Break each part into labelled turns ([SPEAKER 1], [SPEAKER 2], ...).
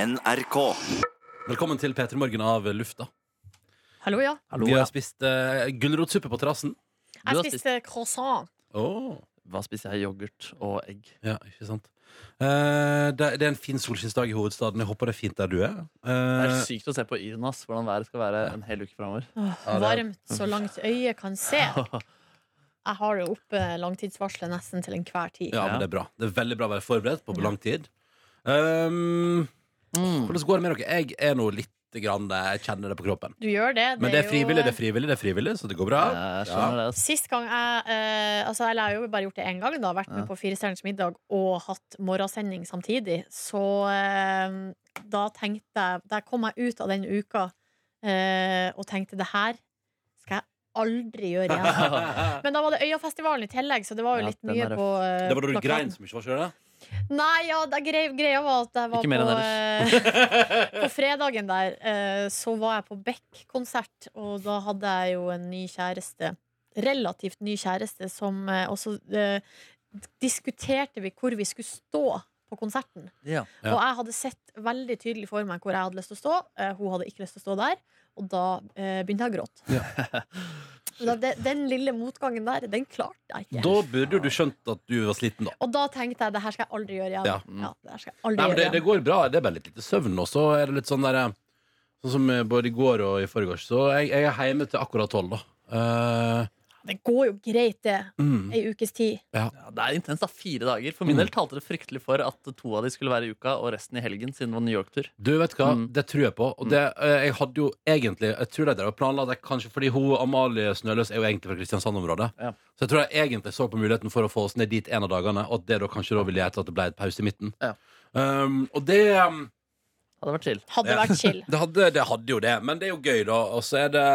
[SPEAKER 1] NRK.
[SPEAKER 2] Velkommen til P3 Morgen av lufta.
[SPEAKER 3] Hallo, ja.
[SPEAKER 2] Vi
[SPEAKER 4] ja.
[SPEAKER 2] har spist uh, gulrotsuppe på terrassen.
[SPEAKER 4] Du har
[SPEAKER 3] Jeg spiste croissant.
[SPEAKER 2] Åh,
[SPEAKER 4] Hva spiser jeg? Yoghurt og egg.
[SPEAKER 2] Ja, ikke sant? Eh, det, det er en fin solskinnsdag i hovedstaden. Jeg håper det er fint der du er.
[SPEAKER 4] Det er
[SPEAKER 2] Eh,
[SPEAKER 4] sykt å se på Irnas hvordan været skal være en hel uke framover.
[SPEAKER 3] Åh,
[SPEAKER 2] Ja, det er-
[SPEAKER 3] Varmt så langt øyet kan se. Jeg har jo oppe langtidsvarselet nesten til enhver tid.
[SPEAKER 2] ja, men det er bra. Det er veldig bra å være forberedt på på lang tid. Um,
[SPEAKER 4] Mm.
[SPEAKER 2] hvordan går det med dere? Jeg er nå litt grann, eh, Jeg kjenner det på kroppen.
[SPEAKER 3] Du gjør det.
[SPEAKER 2] Men det er
[SPEAKER 3] jo-
[SPEAKER 2] frivillig, det er frivillig, det er frivillig, så det går bra.
[SPEAKER 4] Jeg skjønner det. ass.
[SPEAKER 3] Sist gang jeg eh, Altså, eller jeg har jo bare gjort det én gang, da. Vært med
[SPEAKER 4] Ja.
[SPEAKER 3] på Firestjerners middag og hatt morgensending samtidig. Så eh, da tenkte jeg Der kom jeg ut av den uka eh, og tenkte det her skal jeg aldri gjøre igjen. Men da var det Øyafestivalen i tillegg, så det var jo
[SPEAKER 4] Ja,
[SPEAKER 3] litt
[SPEAKER 4] den
[SPEAKER 3] mye
[SPEAKER 4] er røff.
[SPEAKER 3] på eh,
[SPEAKER 2] Det var da du
[SPEAKER 3] plakaten.
[SPEAKER 2] grein så mye, var ikke det?
[SPEAKER 3] Nei, ja, det, greia, greia var at jeg var
[SPEAKER 4] Ikke mer enn
[SPEAKER 3] på eh, På fredagen der eh, så var jeg på Beck-konsert, og da hadde jeg jo en ny kjæreste. Relativt ny kjæreste som eh, også eh, diskuterte vi hvor vi skulle stå på konserten.
[SPEAKER 4] Ja.
[SPEAKER 2] Ja.
[SPEAKER 3] Og jeg hadde sett veldig tydelig for meg hvor jeg hadde lyst til å stå. Eh, hun hadde ikke lyst til å stå der, og da eh, begynte jeg å gråte. Da, den, den lille motgangen der, den klarte jeg ikke.
[SPEAKER 2] Da burde jo du skjønt at du var sliten, da.
[SPEAKER 3] Og da tenkte jeg det her skal jeg aldri gjøre igjen.
[SPEAKER 2] Ja.
[SPEAKER 3] Ja. det her skal jeg aldri
[SPEAKER 2] Nei, men
[SPEAKER 3] gjøre
[SPEAKER 2] det, det
[SPEAKER 3] igjen.
[SPEAKER 2] går bra. Det er bare litt lite søvn, og så er det litt sånn der eh, Sånn som eh, både i går og i forgårs. Så jeg, jeg er hjemme til akkurat tolv, da. Eh,
[SPEAKER 3] det går jo greit, det.
[SPEAKER 2] mm.
[SPEAKER 3] Ei ukes tid.
[SPEAKER 4] Ja, det er intenst, da. Fire dager. For min del talte det fryktelig for at to av de skulle være i uka, og resten i helgen, siden det var New York-tur.
[SPEAKER 2] Du vet hva,
[SPEAKER 4] Mm.
[SPEAKER 2] det tror jeg på. Og det, eh, jeg hadde jo egentlig Jeg tror det var planla det kanskje fordi hun Amalie Snøløs er jo egentlig fra Kristiansand-området.
[SPEAKER 4] Ja.
[SPEAKER 2] Så jeg tror jeg egentlig så på muligheten for å få oss ned dit en av dagene, og at det da kanskje da ville gjøre til at det ble et pause i midten.
[SPEAKER 4] Ja.
[SPEAKER 2] Um, og det um,
[SPEAKER 4] Ja, det var chill.
[SPEAKER 3] Hadde
[SPEAKER 2] Ja.
[SPEAKER 3] vært chill.
[SPEAKER 2] det, hadde, det hadde jo det, men det er jo gøy, da. Og så er det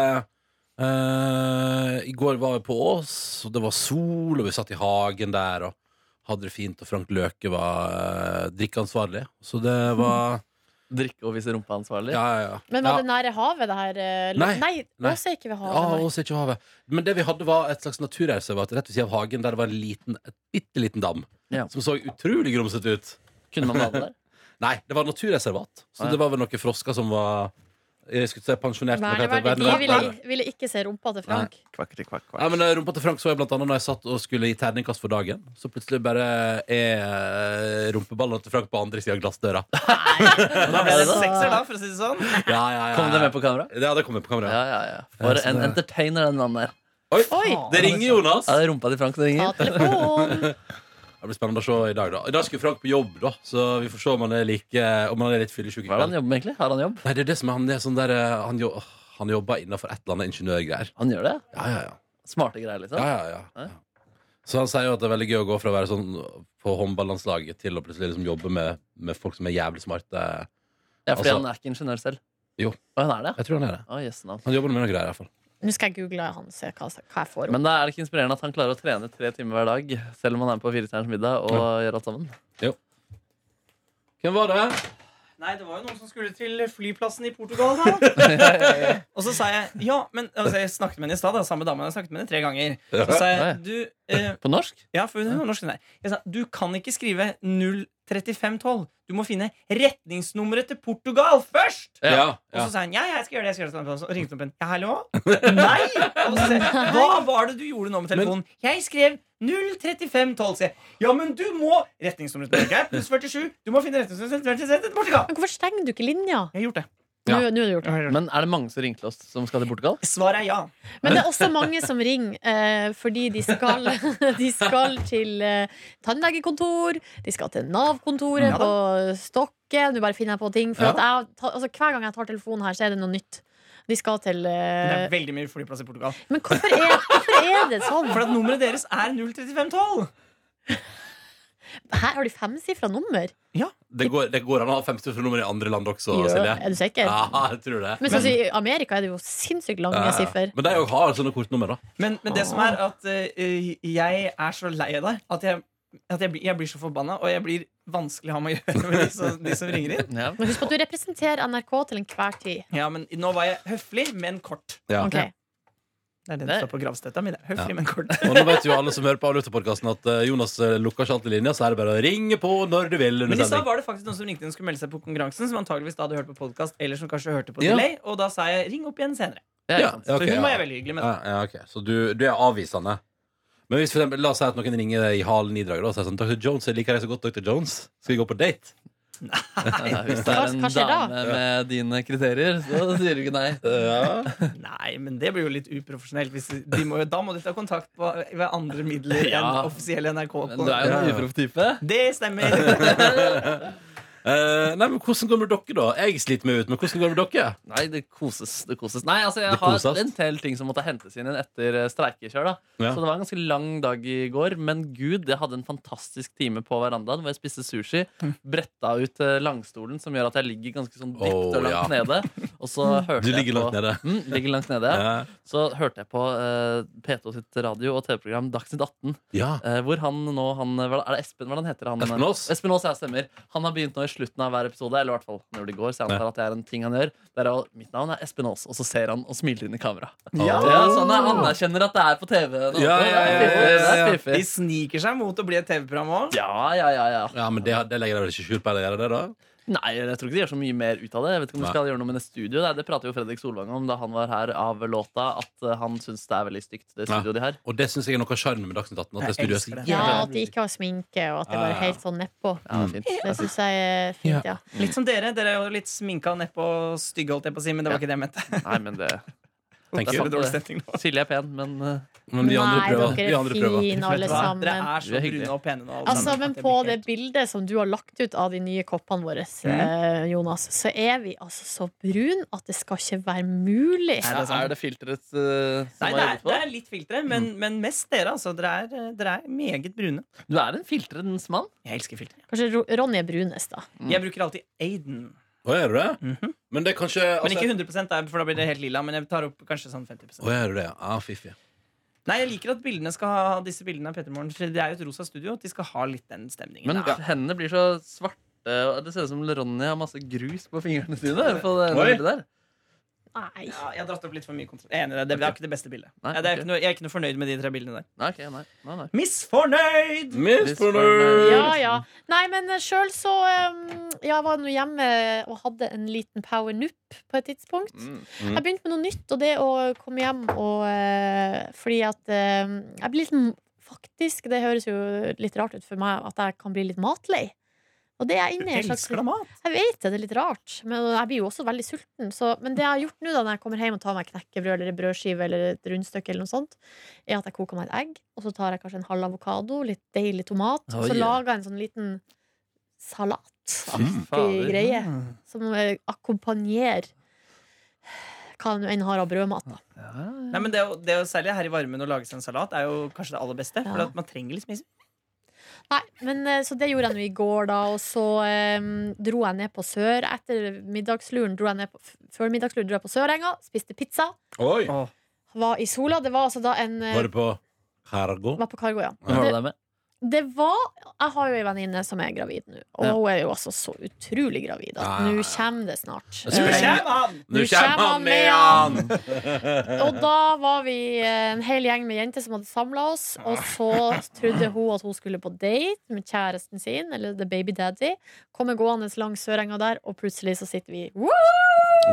[SPEAKER 2] eh, I går var vi på Ås, og det var sol, og vi satt i hagen der og hadde det fint, og Frank Løke var eh, drikkeansvarlig. Så det var
[SPEAKER 4] Drikke og vise rumpa ansvarlig.
[SPEAKER 2] Ja, ja, ja.
[SPEAKER 3] Men var
[SPEAKER 2] ja.
[SPEAKER 3] det nære havet, det her? eh,
[SPEAKER 2] Nei,
[SPEAKER 3] Nei,
[SPEAKER 2] nei.
[SPEAKER 3] Ås er ikke ved
[SPEAKER 2] Ja,
[SPEAKER 3] havet. nei.
[SPEAKER 2] Ås er ikke havet. Men det vi hadde, var et slags naturreservat rett ved siden av hagen, der det var en liten, et bitte liten dam
[SPEAKER 4] Ja.
[SPEAKER 2] som så utrolig grumsete ut.
[SPEAKER 4] Kunne man bade der?
[SPEAKER 2] Nei, det var naturreservat, så
[SPEAKER 4] Ah, ja.
[SPEAKER 2] det var vel noen frosker som var jeg skulle si pensjonert men hva heter det?
[SPEAKER 3] Verneverdig. De ville,
[SPEAKER 2] Verneverdig.
[SPEAKER 3] ville ikke se rumpa til Frank.
[SPEAKER 4] Kvakk, kvakk,
[SPEAKER 2] Nei,
[SPEAKER 4] kvakk.
[SPEAKER 2] men eh, Rumpa til Frank så jeg blant annet når jeg satt og skulle gi terningkast for dagen. Så plutselig bare er eh, rumpeballene til Frank på andre siden av glassdøra. Ja,
[SPEAKER 4] Da ble det
[SPEAKER 3] Altså-
[SPEAKER 4] sekser, da, for å si det sånn.
[SPEAKER 2] ja, ja, ja.
[SPEAKER 4] Kom det med på kamera?
[SPEAKER 2] Ja, det kom med på kamera.
[SPEAKER 4] Ja, ja, ja. For
[SPEAKER 2] Ja, så
[SPEAKER 4] en
[SPEAKER 2] det-
[SPEAKER 4] entertainer, den mannen der.
[SPEAKER 2] Oi, Ah,
[SPEAKER 3] Oi!
[SPEAKER 2] Det ringer, Jonas!
[SPEAKER 4] Ja, det er rumpa til Frank som
[SPEAKER 3] Ta
[SPEAKER 4] ringer.
[SPEAKER 3] telefon!
[SPEAKER 2] Det blir spennende å se i dag, da. I dag skal Frank på jobb, da, så vi får se om han er, like, om han er litt fyllesyk i
[SPEAKER 4] Hva er det han
[SPEAKER 2] kveld.
[SPEAKER 4] jobber med, egentlig? Har han jobb?
[SPEAKER 2] Nei, det er det som er han det er sånn der eh, Han, jo, han jobber innenfor et eller annet ingeniørgreier.
[SPEAKER 4] Han gjør det?
[SPEAKER 2] Ja, ja, ja.
[SPEAKER 4] Smarte greier, liksom?
[SPEAKER 2] ja, ja, ja. Så han sier jo at det er veldig gøy å gå fra å være sånn på håndballandslaget til å plutselig liksom jobbe med, med folk som er jævlig smarte.
[SPEAKER 4] Ja, fordi
[SPEAKER 2] Altså-
[SPEAKER 4] han er ikke ingeniør selv?
[SPEAKER 2] Jo.
[SPEAKER 4] Og han er det?
[SPEAKER 2] Jeg tror han er det.
[SPEAKER 4] Å, jøss, navn.
[SPEAKER 2] Han jobber med noen greier, i hvert fall.
[SPEAKER 3] Nå skal jeg google han se hva, hva jeg får opp.
[SPEAKER 4] Men da er det ikke inspirerende at han klarer å trene tre timer hver dag, selv om han er med på Firestjerners middag og gjør alt sammen?
[SPEAKER 2] Hvem var det?
[SPEAKER 5] Nei, det var jo noen som skulle til flyplassen i Portugal da. Og så sa jeg ja, men altså, Jeg snakket med henne i stad, da, samme dame. Jeg snakket med henne tre ganger. Så sa jeg du eh,
[SPEAKER 4] På norsk?
[SPEAKER 5] Ja, for hun var norsk. Nei. Jeg sa du kan ikke skrive 03512. Du må finne retningsnummeret til Portugal først!
[SPEAKER 4] Ja.
[SPEAKER 5] Og så sa hun ja, ja, jeg skal gjøre det. Jeg skal gjøre det. Og så ringte hun opp igjen. Ja, hallo? Nei! Og så sa jeg, Hva var det du gjorde nå med telefonen? Jeg skrev 03512, sier jeg. Ja, men du må Retningsnummeret til Norge er pluss 47. Du må finne retningsnummeret til Portugal.
[SPEAKER 3] Men hvorfor stenger du ikke linja?
[SPEAKER 5] Jeg har gjort det.
[SPEAKER 2] Ja.
[SPEAKER 3] Nå, nå er det gjort.
[SPEAKER 4] Men er det mange som ringer til oss som skal til Portugal?
[SPEAKER 5] Svaret er ja.
[SPEAKER 3] Men det er også mange som ringer eh, fordi de skal, de skal til eh, tannlegekontor, de skal til Nav-kontoret
[SPEAKER 5] Ja da.
[SPEAKER 3] på Stokke. Nå bare finner jeg på ting. For
[SPEAKER 2] Ja.
[SPEAKER 3] at jeg, ta- altså, hver gang jeg tar telefonen her, så er det noe nytt. De skal til
[SPEAKER 5] Det
[SPEAKER 3] eh,
[SPEAKER 5] er veldig mye flyplass i Portugal.
[SPEAKER 3] Men hvorfor er, hvorfor er det sånn?
[SPEAKER 5] For at nummeret deres er 03512.
[SPEAKER 3] Her har de femsifra nummer.
[SPEAKER 2] Det går, det går an å ha 50 fra nummer i andre land også, Silje.
[SPEAKER 3] Er du sikker?
[SPEAKER 2] Ja, jeg tror det.
[SPEAKER 3] Men sånn, som I Amerika er det jo sinnssykt lange
[SPEAKER 2] Ja, ja.
[SPEAKER 3] siffer.
[SPEAKER 2] Men de òg har sånne kortnummer, da.
[SPEAKER 5] Men, men det som er at eh, jeg er så lei av deg at jeg, at jeg, blir, jeg blir så forbanna, og jeg blir vanskelig å ha med å gjøre med de som, de som ringer inn.
[SPEAKER 4] Ja.
[SPEAKER 3] Men husk på at du representerer NRK til enhver tid.
[SPEAKER 5] Ja, men Nå var jeg høflig, men kort.
[SPEAKER 2] Ja.
[SPEAKER 3] Ok.
[SPEAKER 5] Det er den
[SPEAKER 4] Nei.
[SPEAKER 5] som står på gravstøtta mi. Det er høflig, men kort.
[SPEAKER 2] Og nå vet jo alle som hører på Alutapodkasten, at eh, Jonas eh, lukker ikke alltid linja, så er det bare å ringe på når du vil.
[SPEAKER 5] Men
[SPEAKER 2] Under
[SPEAKER 5] i stad
[SPEAKER 2] sending.
[SPEAKER 5] var det faktisk noen som ringte hun skulle melde seg på konkurransen, som antageligvis da hadde hørt på podcast eller som kanskje hørte på
[SPEAKER 2] Ja.
[SPEAKER 5] delay, og da sa jeg 'ring opp igjen senere'.
[SPEAKER 4] Det er
[SPEAKER 2] Ja,
[SPEAKER 4] sant.
[SPEAKER 2] ja,
[SPEAKER 5] Så
[SPEAKER 2] ok,
[SPEAKER 5] hun var
[SPEAKER 2] ja.
[SPEAKER 5] jeg veldig hyggelig med.
[SPEAKER 2] Ja, ja, ok. Så du, du er avvisende. Men hvis for eksempel, la oss si at noen ringer deg i halen nidrager og sier sånn Dr. Jones, jeg liker deg så godt, Dr. Jones. Skal vi gå på date?
[SPEAKER 4] Ja, hvis det
[SPEAKER 3] Hva-
[SPEAKER 4] er en
[SPEAKER 3] hva skjer da?
[SPEAKER 4] dame med dine kriterier, så sier du ikke nei.
[SPEAKER 5] Nei, men det blir jo litt uprofesjonelt. Hvis de må, jo- da må de ta kontakt på, ved andre midler
[SPEAKER 4] Ja.
[SPEAKER 5] enn offisielle NRK.
[SPEAKER 4] Men du er jo en
[SPEAKER 2] Ja.
[SPEAKER 4] uproff type.
[SPEAKER 5] Det stemmer.
[SPEAKER 2] Eh, nei, men Hvordan går det med dere, da? Jeg sliter meg ut, men hvordan går det med dere?
[SPEAKER 4] Nei, det koses. det koses Nei, altså jeg
[SPEAKER 2] Det
[SPEAKER 4] har
[SPEAKER 2] kosast.
[SPEAKER 4] en del ting som måtte hentes inn igjen etter eh, streikekjør. da
[SPEAKER 2] Ja.
[SPEAKER 4] Så det var en ganske lang dag i går. Men gud, jeg hadde en fantastisk time på verandaen hvor jeg spiste sushi. Bretta ut eh, langstolen, som gjør at jeg ligger ganske sånn
[SPEAKER 2] Åh,
[SPEAKER 4] dypt og
[SPEAKER 2] ja.
[SPEAKER 4] langt nede. Og så hørte
[SPEAKER 2] Du ligger
[SPEAKER 4] jeg på,
[SPEAKER 2] langt nede.
[SPEAKER 4] Mm, ligger langt nede ja.
[SPEAKER 2] Ja.
[SPEAKER 4] Så hørte jeg på eh, P2 sitt radio- og TV-program Dagsnytt 18.
[SPEAKER 2] ja.
[SPEAKER 4] Eh, hvor han nå han, hva Er det Espen? Hvordan heter han?
[SPEAKER 2] Espen Aas?
[SPEAKER 4] Espen Aas, ja, stemmer. Han har begynt nå i slutten av hver episode, eller i hvert fall han gjorde det i går, så jeg antar at det er en ting han gjør. Det er å, Mitt navn er Espen Aas, og så ser han og smiler inn i kamera.
[SPEAKER 5] Ja.
[SPEAKER 4] Ja, så han anerkjenner at det er på TV. nå.
[SPEAKER 2] Ja, ja, ja, ja, ja, ja.
[SPEAKER 4] Det er
[SPEAKER 5] De
[SPEAKER 4] fiffig.
[SPEAKER 5] sniker seg mot å bli et TV-program òg.
[SPEAKER 4] Ja, ja, ja, ja.
[SPEAKER 2] ja, men det, det legger jeg vel ikke skjul på? eller gjør jeg Det, da?
[SPEAKER 4] Nei, jeg tror ikke de gjør så mye mer ut av det. Jeg vet ikke om de
[SPEAKER 2] Nei.
[SPEAKER 4] skal gjøre noe med det studio. Det, det prater jo Fredrik Solvang om da han var her av låta, at eh, han syns det er veldig stygt, det
[SPEAKER 2] Ja.
[SPEAKER 4] studioet de har.
[SPEAKER 2] Og det syns jeg er noe av sjarmen med Dagsnytt 18. At det
[SPEAKER 5] Jeg
[SPEAKER 2] studioet er
[SPEAKER 5] elsker
[SPEAKER 2] så
[SPEAKER 5] det.
[SPEAKER 3] Ja,
[SPEAKER 2] jævlig
[SPEAKER 3] at de ikke har sminke, og at det
[SPEAKER 2] Ja,
[SPEAKER 3] bare
[SPEAKER 2] ja.
[SPEAKER 3] er helt sånn nedpå.
[SPEAKER 4] Ja, fint.
[SPEAKER 3] Det syns jeg er fint, ja.
[SPEAKER 5] Litt som dere. Dere er jo litt sminka nedpå og stygge, holdt jeg på å si, men det var ikke det jeg mente.
[SPEAKER 2] Mm.
[SPEAKER 4] Nei, men det
[SPEAKER 2] Thank
[SPEAKER 5] Det er
[SPEAKER 2] you.
[SPEAKER 5] så dårlig stemning nå.
[SPEAKER 4] Silje er pen, men eh,
[SPEAKER 2] Men vi andre
[SPEAKER 3] Nei,
[SPEAKER 2] prøver. Vi
[SPEAKER 3] dere er
[SPEAKER 2] andre prøver.
[SPEAKER 3] fine, alle
[SPEAKER 5] Vet du hva? Dere
[SPEAKER 3] sammen.
[SPEAKER 5] er
[SPEAKER 4] Vi er
[SPEAKER 5] så
[SPEAKER 4] hyggelige.
[SPEAKER 5] brune og pene nå. alle
[SPEAKER 3] Altså,
[SPEAKER 5] sammen,
[SPEAKER 3] men
[SPEAKER 5] at jeg
[SPEAKER 3] på
[SPEAKER 5] blir
[SPEAKER 3] det
[SPEAKER 5] helt-
[SPEAKER 3] bildet som du har lagt ut av de nye koppene våre,
[SPEAKER 2] Mm.
[SPEAKER 3] eh, Jonas, så er vi altså så brun at det skal ikke være mulig.
[SPEAKER 5] Nei, det er sant.
[SPEAKER 4] er det filteret eh, som
[SPEAKER 5] Nei,
[SPEAKER 4] har
[SPEAKER 5] det er,
[SPEAKER 4] jobbet for
[SPEAKER 5] det
[SPEAKER 4] deg?
[SPEAKER 5] er litt filtre, men, men mest dere. Altså, dere, er, dere er meget brune.
[SPEAKER 4] Du er en filtredens mann.
[SPEAKER 5] Jeg elsker filtre.
[SPEAKER 3] Kanskje Ro- Ronny er brunest, da.
[SPEAKER 5] Jeg bruker alltid Aiden.
[SPEAKER 2] Å, er du det? Men det er kanskje
[SPEAKER 5] Men
[SPEAKER 2] altså,
[SPEAKER 5] ikke 100 der, for da blir det helt lilla. Men jeg tar opp kanskje sånn 50
[SPEAKER 2] Å, er du det? Ja, ah, fiffig.
[SPEAKER 5] Nei, jeg liker at bildene skal ha disse bildene av Petter Morgen. for Det er jo et rosa studio. at De skal ha litt den stemningen.
[SPEAKER 4] Men
[SPEAKER 5] Ja.
[SPEAKER 4] hendene blir så svarte. og Det ser ut som Ronny har masse grus på fingrene sine. På det ene
[SPEAKER 2] Oi.
[SPEAKER 4] bildet der.
[SPEAKER 3] Nei.
[SPEAKER 5] Ja, jeg har dratt opp litt for mye kontroll. Jeg er enig i det. Det er ikke det beste bildet.
[SPEAKER 4] Nei,
[SPEAKER 5] Ja, det er
[SPEAKER 4] ok.
[SPEAKER 5] ikke noe, jeg er ikke noe fornøyd med de tre bildene der.
[SPEAKER 4] Nei, ok, nei, nei, nei.
[SPEAKER 5] Misfornøyd!
[SPEAKER 2] Misfornøyd!
[SPEAKER 3] Ja, ja. Nei, men sjøl så um, ja, Jeg var nå hjemme og hadde en liten power nup på et tidspunkt.
[SPEAKER 4] Mm.
[SPEAKER 3] Jeg begynte med noe nytt, og det å komme hjem og eh, Fordi at eh, jeg blir litt Faktisk, det høres jo litt rart ut for meg at jeg kan bli litt matlei. Og det er jeg
[SPEAKER 5] Du
[SPEAKER 3] inne i en slags
[SPEAKER 5] elsker da mat.
[SPEAKER 3] Jeg vet det, det er litt rart, men jeg blir jo også veldig sulten. Så, men det jeg har gjort nå da når jeg kommer hjem og tar meg knekkebrød eller en brødskive eller et rundstykke, eller noe sånt, er at jeg koker meg et egg, og så tar jeg kanskje en halv avokado, litt deilig tomat, og
[SPEAKER 4] Oi.
[SPEAKER 3] så lager jeg en sånn liten salataktig
[SPEAKER 2] Mm.
[SPEAKER 4] Fader.
[SPEAKER 3] greie
[SPEAKER 5] Mm.
[SPEAKER 3] som eh, akkompagnerer hva jeg nå enn har av brødmat. Da.
[SPEAKER 4] Ja.
[SPEAKER 5] Nei, men det, er jo- det er jo særlig her i varmen å lage seg en salat er jo kanskje det aller beste. For
[SPEAKER 3] Ja.
[SPEAKER 5] at man trenger liksom is.
[SPEAKER 3] Nei, men eh, Så det gjorde jeg nå i går, da. Og så eh, dro jeg ned på Sør. Etter middagsluren dro jeg ned på, f- Før middagsluren dro jeg på Sørenga, spiste pizza.
[SPEAKER 2] Oi!
[SPEAKER 5] Åh.
[SPEAKER 3] var i sola. Det var altså da en eh,
[SPEAKER 2] Var det på Cargo?
[SPEAKER 3] var på Cargo, ja.
[SPEAKER 4] Hva var det der med?
[SPEAKER 3] Det var Jeg har jo ei venninne som er gravid nå, og
[SPEAKER 4] Ja.
[SPEAKER 3] hun er jo altså så utrolig gravid at
[SPEAKER 2] Ah.
[SPEAKER 3] nå kommer det snart.
[SPEAKER 2] Jeg
[SPEAKER 5] Nå
[SPEAKER 2] skulle
[SPEAKER 3] Eh,
[SPEAKER 5] kommer han!
[SPEAKER 2] Nå
[SPEAKER 3] Nå
[SPEAKER 2] kommer
[SPEAKER 3] kommer
[SPEAKER 2] han
[SPEAKER 3] han
[SPEAKER 2] med
[SPEAKER 3] med
[SPEAKER 2] han!
[SPEAKER 3] og da var vi eh, en hel gjeng med jenter som hadde samla oss, og så trodde hun at hun skulle på date med kjæresten sin, eller the baby daddy. Kommer gående langs Sørenga der, og plutselig så sitter vi Woo!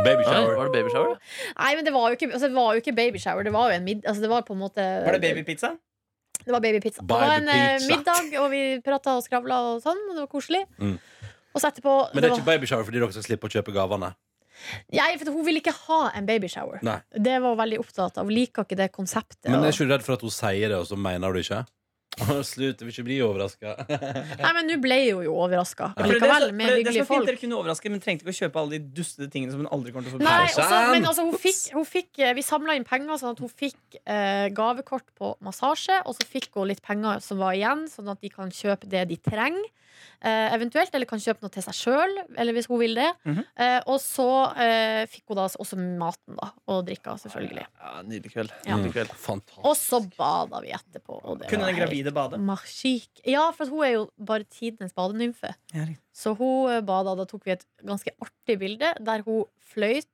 [SPEAKER 2] Baby
[SPEAKER 4] Oi,
[SPEAKER 2] shower.
[SPEAKER 4] var det baby shower?
[SPEAKER 3] Nei, men det var jo ikke, altså, det var jo ikke babyshower. Det var jo en mid... Altså, det var på en måte
[SPEAKER 5] Var det babypizza?
[SPEAKER 3] Det var babypizza. Det var en eh,
[SPEAKER 2] Babypizza.
[SPEAKER 3] middag, og vi prata og skravla og sånn. og Det var koselig.
[SPEAKER 2] Mm.
[SPEAKER 3] Og så etterpå
[SPEAKER 2] Men det er ikke baby shower fordi dere skal slippe å kjøpe gavene.
[SPEAKER 3] Nei, for Hun ville ikke ha en babyshower.
[SPEAKER 2] Nei.
[SPEAKER 3] Det var hun veldig opptatt av. Hun liker ikke det konseptet.
[SPEAKER 2] Men
[SPEAKER 3] og-
[SPEAKER 2] er ikke du redd for at hun sier det, og så mener du ikke? Å, Slutt, jeg vil ikke bli overraska.
[SPEAKER 3] Nei, men nå ble hun jo overraska.
[SPEAKER 5] For det er så-
[SPEAKER 3] Likevel,
[SPEAKER 5] for
[SPEAKER 3] med
[SPEAKER 5] det- det er
[SPEAKER 3] hyggelige
[SPEAKER 5] så fint
[SPEAKER 3] folk.
[SPEAKER 5] Dere kunne overraske, men trengte ikke å kjøpe alle de dustete tingene som hun aldri kommer til å få
[SPEAKER 3] Nei,
[SPEAKER 2] Nei,
[SPEAKER 3] også,
[SPEAKER 2] sant.
[SPEAKER 3] men altså, hun fikk, hun fikk, eh, vi samla inn penger, sånn at hun fikk eh, gavekort på massasje. Og så fikk hun litt penger som var igjen, sånn at de kan kjøpe det de trenger. eh, eventuelt, eller kan kjøpe noe til seg sjøl, eller hvis hun vil det.
[SPEAKER 5] Mhm.
[SPEAKER 3] Eh, og så eh, fikk hun da også maten da, og drikka, selvfølgelig.
[SPEAKER 4] Ja, Nydelig kveld.
[SPEAKER 3] Ja.
[SPEAKER 4] Nydelig kveld.
[SPEAKER 2] Fantastisk.
[SPEAKER 3] Og så bada vi etterpå. Og det
[SPEAKER 5] Kunne
[SPEAKER 3] var
[SPEAKER 5] den gravide bade?
[SPEAKER 3] Marchik. Ja, for at hun er jo bare tidenes badenymfe.
[SPEAKER 5] Ja, riktig.
[SPEAKER 3] Så hun eh, bada. Da tok vi et ganske artig bilde der hun fløyt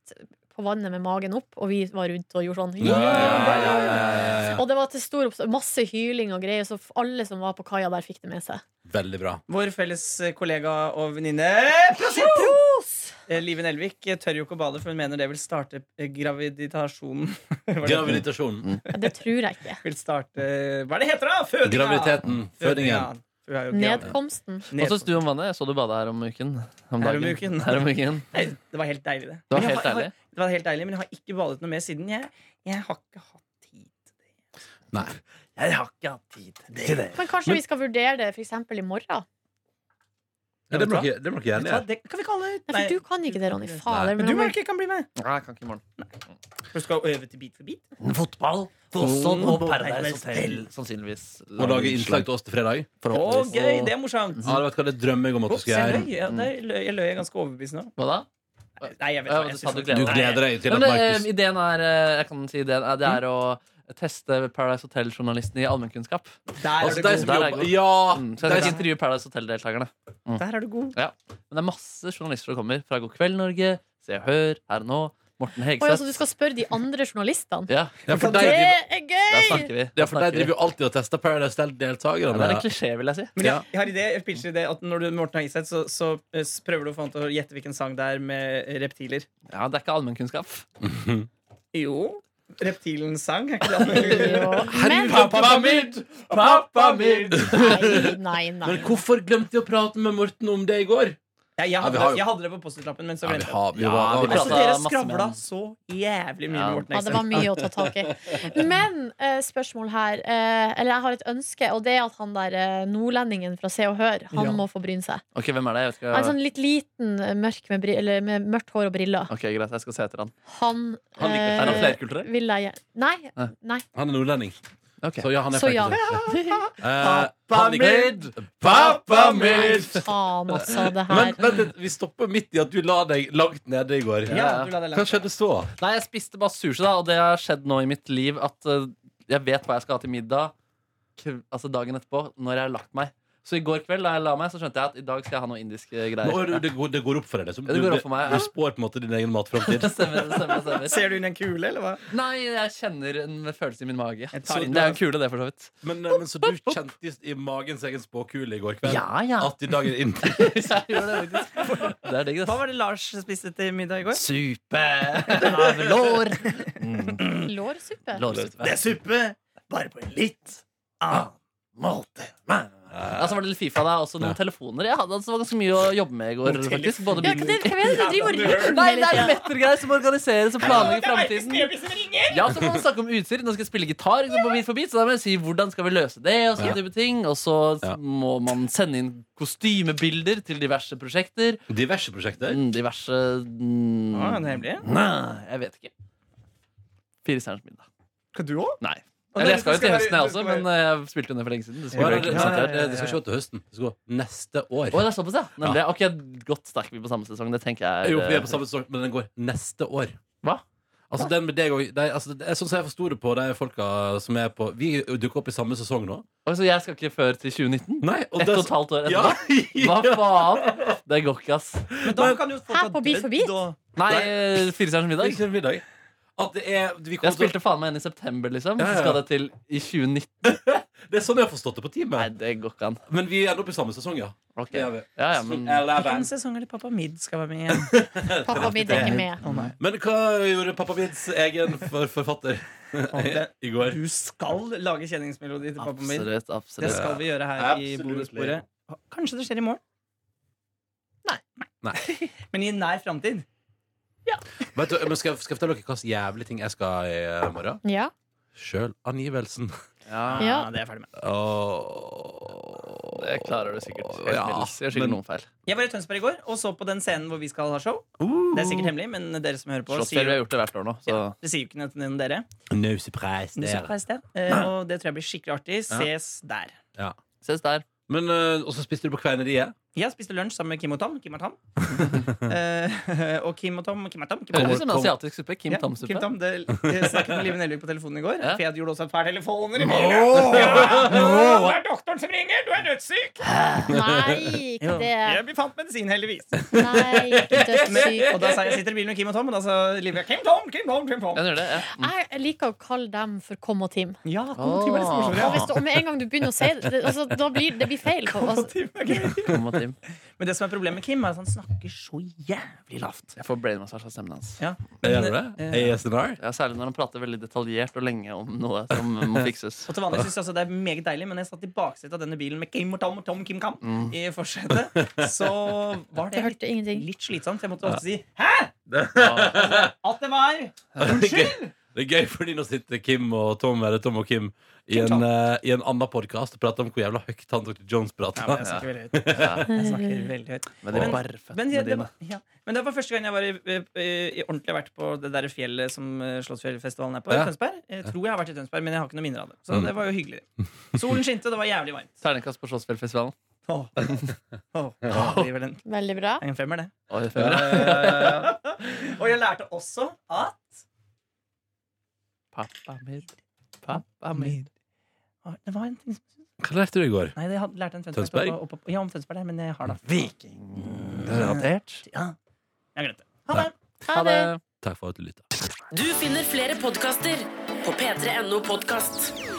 [SPEAKER 3] på vannet med magen opp, og vi var rundt og gjorde sånn.
[SPEAKER 2] Ja, ja, ja, ja, ja.
[SPEAKER 3] Og det var til stor opps- masse hyling og greier, så alle som var på kaia der, fikk det med seg.
[SPEAKER 2] Veldig bra.
[SPEAKER 5] Vår felles kollega og venninne Eh, Live Nelvik eh, tør jo ikke å bade, for hun mener det vil starte eh, graviditasjonen. Hva er det?
[SPEAKER 2] Graviditasjonen.
[SPEAKER 3] Det tror jeg ikke.
[SPEAKER 5] Vil starte Hva er det heter, da? Fødinga!
[SPEAKER 2] Graviditeten. Fødingen.
[SPEAKER 5] Hun er jo gravid.
[SPEAKER 3] Nedkomsten.
[SPEAKER 4] Hva syns
[SPEAKER 5] Ned-
[SPEAKER 4] du om vannet? Jeg så du bada her om uken. Om
[SPEAKER 5] Her om
[SPEAKER 4] dagen.
[SPEAKER 5] uken.
[SPEAKER 4] Her om uken.
[SPEAKER 5] Nei, Det var helt deilig, det.
[SPEAKER 4] Det var
[SPEAKER 5] Men jeg
[SPEAKER 4] helt
[SPEAKER 5] har-
[SPEAKER 4] deilig.
[SPEAKER 5] Det var helt deilig, Men jeg har ikke badet noe mer siden. Jeg, jeg har ikke hatt tid.
[SPEAKER 2] Nei.
[SPEAKER 4] Jeg har ikke hatt tid til det.
[SPEAKER 3] Men kanskje vi skal vurdere det f.eks. i morgen?
[SPEAKER 2] Ja, det må dere det må dere
[SPEAKER 5] Vet du
[SPEAKER 2] gjerne
[SPEAKER 5] hva,
[SPEAKER 2] gjøre.
[SPEAKER 5] det kan vi kalle
[SPEAKER 3] Nei, for du kan ikke det, Ronny. Fader.
[SPEAKER 5] Men
[SPEAKER 3] men
[SPEAKER 5] du
[SPEAKER 3] om-
[SPEAKER 5] Mark, kan bli med.
[SPEAKER 4] Nei, jeg kan ikke i morgen.
[SPEAKER 5] For du skal øve til Beat for beat.
[SPEAKER 4] Fotball, fotball og
[SPEAKER 5] Paradise Hotel,
[SPEAKER 4] Sannsynligvis.
[SPEAKER 2] Og lage innslag til oss til fredag.
[SPEAKER 5] Å, gøy! Det er morsomt.
[SPEAKER 2] Ja, vet du hva, det drømmer jeg om at du
[SPEAKER 5] Ops,
[SPEAKER 2] skal
[SPEAKER 5] jeg
[SPEAKER 2] gjøre.
[SPEAKER 5] løy. Ja, der løy- Jeg løy ganske overbevisende nå.
[SPEAKER 4] Hva da?
[SPEAKER 5] Nei, jeg vet
[SPEAKER 4] Mm. Ja,
[SPEAKER 5] hva,
[SPEAKER 4] du
[SPEAKER 5] jeg
[SPEAKER 4] sa
[SPEAKER 5] synes
[SPEAKER 4] du
[SPEAKER 5] det-
[SPEAKER 4] gleder
[SPEAKER 2] Du
[SPEAKER 5] Nei,
[SPEAKER 2] gleder deg til
[SPEAKER 4] Ja,
[SPEAKER 2] at
[SPEAKER 4] men,
[SPEAKER 2] Markus
[SPEAKER 4] eh, ideen er eh, Jeg kan si ideen er, Det er å teste Paradise Hotel-journalisten i allmennkunnskap.
[SPEAKER 5] Der er
[SPEAKER 2] Altså, de
[SPEAKER 5] du god.
[SPEAKER 2] som
[SPEAKER 4] Der er
[SPEAKER 2] jobber
[SPEAKER 4] jeg
[SPEAKER 2] Ja!
[SPEAKER 4] Mm, så
[SPEAKER 2] de
[SPEAKER 4] jeg skal
[SPEAKER 2] som-
[SPEAKER 4] intervjue Paradise Hotel-deltakerne.
[SPEAKER 5] Der er du god.
[SPEAKER 4] Men det er masse journalister som kommer fra God kveld, Norge, Se og Hør, Her og Nå, Morten
[SPEAKER 3] Oi,
[SPEAKER 4] Hegseth.
[SPEAKER 3] altså, du skal spørre de andre journalistene?
[SPEAKER 4] Ja,
[SPEAKER 2] Ja, for de
[SPEAKER 3] Det
[SPEAKER 5] Det
[SPEAKER 2] driver-
[SPEAKER 3] er
[SPEAKER 4] der
[SPEAKER 3] gøy!
[SPEAKER 4] snakker vi.
[SPEAKER 2] ja,
[SPEAKER 4] Der
[SPEAKER 2] for de
[SPEAKER 4] snakker vi.
[SPEAKER 2] driver jo alltid og tester Paradise
[SPEAKER 4] Ja, det er en
[SPEAKER 2] Del-deltakere.
[SPEAKER 4] klisjé, vil jeg si.
[SPEAKER 5] Men jeg, jeg har idé, jeg pitcher idé at når du Morten har gitt seg, så, så eh, s- prøver du å få han til å gjette hvilken sang det er med eh, reptiler.
[SPEAKER 4] Ja, Det er ikke allmennkunnskap.
[SPEAKER 5] Jo. Reptilens sang? Er ikke det
[SPEAKER 3] Jo. Men
[SPEAKER 2] midd!
[SPEAKER 3] Nei, nei, nei.
[SPEAKER 2] Men hvorfor glemte jeg å prate med Morten om det i går?
[SPEAKER 5] jeg, jeg,
[SPEAKER 2] Ja, vi
[SPEAKER 5] hadde,
[SPEAKER 2] har jo-
[SPEAKER 5] jeg hadde det på Post-It-lappen, men så
[SPEAKER 2] Ja, vi
[SPEAKER 5] glemte jeg
[SPEAKER 2] har, vi
[SPEAKER 4] Ja,
[SPEAKER 2] var,
[SPEAKER 4] vi
[SPEAKER 2] vi
[SPEAKER 5] Altså,
[SPEAKER 4] pratet
[SPEAKER 5] dere
[SPEAKER 4] masse med
[SPEAKER 5] skravla
[SPEAKER 4] han.
[SPEAKER 5] så jævlig mye
[SPEAKER 4] Ja.
[SPEAKER 5] med Morten
[SPEAKER 3] Ja, det var
[SPEAKER 5] Hegseth.
[SPEAKER 3] mye å ta tak i. Men eh, spørsmål her. Eh, eller jeg har et ønske, og det er at han der eh, nordlendingen fra Se og Hør, han
[SPEAKER 5] Ja.
[SPEAKER 3] må få bryne seg.
[SPEAKER 4] Ok, hvem er det? Jeg
[SPEAKER 3] Han er
[SPEAKER 4] skal...
[SPEAKER 3] sånn litt liten, eh, mørk med, bri- eller med mørkt hår og briller.
[SPEAKER 4] Ok, Greit, jeg skal se etter han.
[SPEAKER 3] Han,
[SPEAKER 2] Han liker-
[SPEAKER 4] Er han
[SPEAKER 3] eh,
[SPEAKER 4] flerkulturell?
[SPEAKER 3] vil jeg gjerne Nei.
[SPEAKER 4] Nei.
[SPEAKER 3] nei.
[SPEAKER 2] Han er nordlending.
[SPEAKER 4] Ok.
[SPEAKER 2] Så ja, han er Eh,
[SPEAKER 3] Så ja.
[SPEAKER 2] Pappa
[SPEAKER 3] Faen, altså, det her.
[SPEAKER 2] Men vent litt, vi stopper midt i at du la deg langt nede i går.
[SPEAKER 5] Ja, du la det
[SPEAKER 2] Hva
[SPEAKER 5] langt.
[SPEAKER 2] skjedde så?
[SPEAKER 4] Nei, jeg spiste bare sushi, da, og det har skjedd nå i mitt liv at eh, jeg vet hva jeg skal ha til middag kv altså dagen etterpå, når jeg har lagt meg. Så i går kveld da jeg la meg, så skjønte jeg at i dag skal jeg ha noe indiske greier.
[SPEAKER 2] Nå, er du- det, går, det går opp for deg? liksom.
[SPEAKER 4] Ja, det går opp for meg, ja.
[SPEAKER 2] Du spår på en måte din egen matframtid?
[SPEAKER 4] Det stemmer, det stemmer, det stemmer.
[SPEAKER 5] Ser du inn i en kule, eller hva?
[SPEAKER 4] Nei, jeg kjenner en følelse i min mage. Jeg
[SPEAKER 5] tar
[SPEAKER 4] tar
[SPEAKER 5] inn-
[SPEAKER 4] inn. Det er jo en kule, det, for så vidt.
[SPEAKER 2] Men, eh, men så du kjente i- i magens egen spåkule i går kveld
[SPEAKER 4] Ja, ja.
[SPEAKER 2] at i dag er det inntil
[SPEAKER 4] Jeg gjør det, faktisk. det er digg,
[SPEAKER 5] Hva
[SPEAKER 4] det.
[SPEAKER 5] var det Lars spiste til middag i går?
[SPEAKER 4] Supe av lår. Mm,
[SPEAKER 3] Lårsuppe?
[SPEAKER 4] lårsuppe.
[SPEAKER 5] er suppe, bare på en litt
[SPEAKER 4] Målte meg. Ja, så var det litt Fifa, da. Også noen
[SPEAKER 2] Ja.
[SPEAKER 4] telefoner. Jeg hadde altså det var ganske mye å jobbe med i går.
[SPEAKER 5] Noen
[SPEAKER 4] faktisk
[SPEAKER 5] telefoner.
[SPEAKER 4] Både
[SPEAKER 3] Ja, hva det- hva er det du driver og river med
[SPEAKER 4] Nei, det er
[SPEAKER 3] hele tiden?
[SPEAKER 4] mettergreier som organiseres og planlegger framtiden.
[SPEAKER 5] ringer!
[SPEAKER 4] Ja, så kan man snakke om utstyr. Nå skal jeg spille gitar, ikke sant, på Bit for bit, så da må jeg si hvordan skal vi løse det, og sånne
[SPEAKER 2] Ja.
[SPEAKER 4] type ting. Og så
[SPEAKER 2] Ja.
[SPEAKER 4] må man sende inn kostymebilder til diverse prosjekter.
[SPEAKER 2] diverse prosjekter.
[SPEAKER 4] Mm, Diverse mm,
[SPEAKER 5] Ah, det er hemmelig.
[SPEAKER 4] Nei, jeg vet ikke. Fire stjerners middag.
[SPEAKER 5] Skal du òg?
[SPEAKER 4] Nei.
[SPEAKER 5] Ah,
[SPEAKER 4] Eller
[SPEAKER 5] nei,
[SPEAKER 4] jeg skal
[SPEAKER 5] du
[SPEAKER 4] jo til
[SPEAKER 5] skal
[SPEAKER 4] høsten,
[SPEAKER 5] være-
[SPEAKER 4] jeg
[SPEAKER 5] du skal
[SPEAKER 4] også, men eh, jeg spilte jo ned for lenge siden. Det
[SPEAKER 2] Ja,
[SPEAKER 4] skulle
[SPEAKER 2] det,
[SPEAKER 4] jeg
[SPEAKER 2] det,
[SPEAKER 4] ikke
[SPEAKER 2] det,
[SPEAKER 4] sant, her.
[SPEAKER 2] det, det skal ikke gå til høsten. Det skal gå neste år.
[SPEAKER 4] Å, det er såpass, ja. Nemlig. Ok, Godt stakk vi på samme sesong. Det tenker jeg eh,
[SPEAKER 2] Jo, vi er på samme sesong, men den går neste år.
[SPEAKER 4] Hva?
[SPEAKER 2] Altså, den med deg og de, altså, det er Sånn som jeg forsto det på de folka som er på Vi dukker opp i samme sesong nå.
[SPEAKER 4] Oi, Så jeg skal ikke før til 2019?
[SPEAKER 2] Nei, og
[SPEAKER 4] Ett
[SPEAKER 2] det-
[SPEAKER 4] og et halvt år
[SPEAKER 2] ja,
[SPEAKER 4] etterpå? Hva
[SPEAKER 2] ja.
[SPEAKER 4] faen? Det går ikke, ass.
[SPEAKER 5] Men da kan jo folk
[SPEAKER 3] Her på Beat for beat?
[SPEAKER 5] og-
[SPEAKER 4] Nei, eh, Fire stjerners middag.
[SPEAKER 2] Ikke en middag. At det er vi kommer
[SPEAKER 4] Jeg
[SPEAKER 2] til,
[SPEAKER 4] spilte faen meg inn i september, liksom.
[SPEAKER 2] Ja, ja,
[SPEAKER 4] Så
[SPEAKER 2] ja.
[SPEAKER 4] skal det til i 2019.
[SPEAKER 2] Det er sånn jeg har forstått det på
[SPEAKER 4] Nei,
[SPEAKER 2] teamet.
[SPEAKER 4] det går ikke an.
[SPEAKER 2] Men vi ender opp i samme sesong, ja. Mm.
[SPEAKER 4] Ok.
[SPEAKER 2] Det
[SPEAKER 4] Ja,
[SPEAKER 2] gjør vi.
[SPEAKER 4] ja, men
[SPEAKER 5] Hvilken sesong er det Pappa Mid skal være med igjen?
[SPEAKER 3] Pappa min er ikke med.
[SPEAKER 5] Å nei.
[SPEAKER 2] Men hva gjorde pappa Mids egen for forfatter
[SPEAKER 5] det-
[SPEAKER 2] i går?
[SPEAKER 5] Du skal lage kjenningsmelodi til Pappa Mid.
[SPEAKER 4] absolutt.
[SPEAKER 5] Det
[SPEAKER 4] absolutt
[SPEAKER 5] skal vi gjøre her i
[SPEAKER 2] Absolutely.
[SPEAKER 5] bonusbordet. Kanskje det skjer i morgen? Nei. Men i nær framtid.
[SPEAKER 2] Vet du, men skal, jeg- skal jeg fortelle dere hva slags jævlig ting jeg skal i eh, morgen?
[SPEAKER 3] Ja.
[SPEAKER 2] Sjølangivelsen.
[SPEAKER 5] Ah.
[SPEAKER 4] Ja,
[SPEAKER 3] Ja.
[SPEAKER 5] det er jeg ferdig med.
[SPEAKER 2] Åh.
[SPEAKER 4] Det klarer du sikkert. Helt
[SPEAKER 2] Ja,
[SPEAKER 4] middels. Jeg gjør sikkert
[SPEAKER 2] men-
[SPEAKER 4] noen feil.
[SPEAKER 5] Jeg var i Tønsberg i går og så på den scenen hvor vi skal ha show. Det
[SPEAKER 2] Uh.
[SPEAKER 5] er sikkert hemmelig, men dere som hører på,
[SPEAKER 4] Slottsfjell,
[SPEAKER 5] sier
[SPEAKER 4] vi har
[SPEAKER 5] jo
[SPEAKER 4] gjort det hvert år nå. Så.
[SPEAKER 5] det sier jo ikke noe til noen av dere.
[SPEAKER 2] No surprise
[SPEAKER 5] Men det er
[SPEAKER 2] der.
[SPEAKER 5] surprise, det. Eh, Og det tror jeg blir skikkelig artig. Ses der.
[SPEAKER 4] Ses der.
[SPEAKER 2] Men, eh, og så spiste du på Kveineriet.
[SPEAKER 5] Jeg spiste lunsj sammen med Kim og Tom. Kim og Tom. Eh, og Kim og Tom, Kim og Tom, Kim og
[SPEAKER 4] Høres
[SPEAKER 5] Tom.
[SPEAKER 4] ut som en asiatisk suppe. Kim
[SPEAKER 5] Ja,
[SPEAKER 4] Tam-suppe.
[SPEAKER 5] Kim Tam, det, jeg snakket med Live Nelvik på telefonen i går.
[SPEAKER 4] Ja.
[SPEAKER 5] For jeg gjorde også et par telefoner i morgen. Ja, det er doktoren som ringer! Du er dødssyk!
[SPEAKER 3] Nei, ikke det.
[SPEAKER 5] Jeg blir fant medisin, heldigvis.
[SPEAKER 3] Nei, ikke
[SPEAKER 5] Men,
[SPEAKER 3] dødssyk.
[SPEAKER 5] og da sa jeg sitter i bilen med Kim og Tom, og da sa Liv Kim Tom, Kim Tom, Kim Tom.
[SPEAKER 4] Ja, den gjør det, ja. Mm.
[SPEAKER 3] Jeg liker å kalle dem for Kom og Tim.
[SPEAKER 5] Ja, Tom Tim er litt morsommere.
[SPEAKER 3] Og hvis du, og med en gang du begynner å si det, det, altså, da blir det blir feil.
[SPEAKER 5] Tom
[SPEAKER 3] Altså,
[SPEAKER 5] Tim er gøy.
[SPEAKER 4] Tom og Tim.
[SPEAKER 5] Men det som er problemet med Kim, er at han snakker så jævlig lavt.
[SPEAKER 4] Jeg får brainmassasje av stemmen hans.
[SPEAKER 5] Ja.
[SPEAKER 2] Gjør du det? ASNR?
[SPEAKER 4] Ja, særlig når han prater veldig detaljert og lenge om noe som må fikses.
[SPEAKER 5] Og til vanlig synes jeg også det er meget deilig, men jeg satt i baksetet av denne bilen med Kim og Tom og Tom Kim Kam i forsetet, så var
[SPEAKER 3] jeg
[SPEAKER 5] det
[SPEAKER 3] hørte ingenting.
[SPEAKER 5] litt slitsomt. Jeg måtte ofte si Hæ?!
[SPEAKER 4] Ja.
[SPEAKER 5] At det var Unnskyld!
[SPEAKER 2] Det er gøy fordi nå sitter Kim og Tom Eller Tom og Kim i
[SPEAKER 5] Kim
[SPEAKER 2] en,
[SPEAKER 5] Tom.
[SPEAKER 2] eh, i en annen podkast og prater om hvor jævla høyt han Dr. Jones
[SPEAKER 5] Ja,
[SPEAKER 2] prater.
[SPEAKER 5] men jeg snakker veldig høyt. Jeg snakker veldig høyt.
[SPEAKER 4] Med de
[SPEAKER 5] Men- Men,
[SPEAKER 4] barføttene
[SPEAKER 5] ja, det,
[SPEAKER 4] dine.
[SPEAKER 5] var, ja. men det var første gang jeg var i, i, i ordentlig vært på det der fjellet som eh, Slottsfjellfestivalen er på.
[SPEAKER 2] Ja.
[SPEAKER 5] i Tønsberg. Jeg tror jeg har vært i Tønsberg, men jeg har ikke noe minner av det. Så
[SPEAKER 2] Mm.
[SPEAKER 5] det var jo hyggelig. Solen skinte, og det var jævlig varmt.
[SPEAKER 4] Terningkast på Slottsfjellfestivalen.
[SPEAKER 5] Åh. Åh. Det blir vel en,
[SPEAKER 3] Veldig bra.
[SPEAKER 5] en femmer, det.
[SPEAKER 4] Oi, femmer, ja.
[SPEAKER 5] Og jeg lærte også at
[SPEAKER 4] Pappa min, pappa min.
[SPEAKER 5] Det var en ting som
[SPEAKER 2] Hva lærte du i går?
[SPEAKER 5] Nei, det had- lærte en Tønsberg.
[SPEAKER 2] Tønsberg?
[SPEAKER 5] Oppe, oppe, ja, om Tønsberg der, men jeg har da
[SPEAKER 4] Vikingrelatert.
[SPEAKER 5] ja. Jeg glemte det. Ha det!
[SPEAKER 3] Ha det.
[SPEAKER 2] Takk for at du lytta.
[SPEAKER 1] Du finner flere podkaster på p3.no podkast.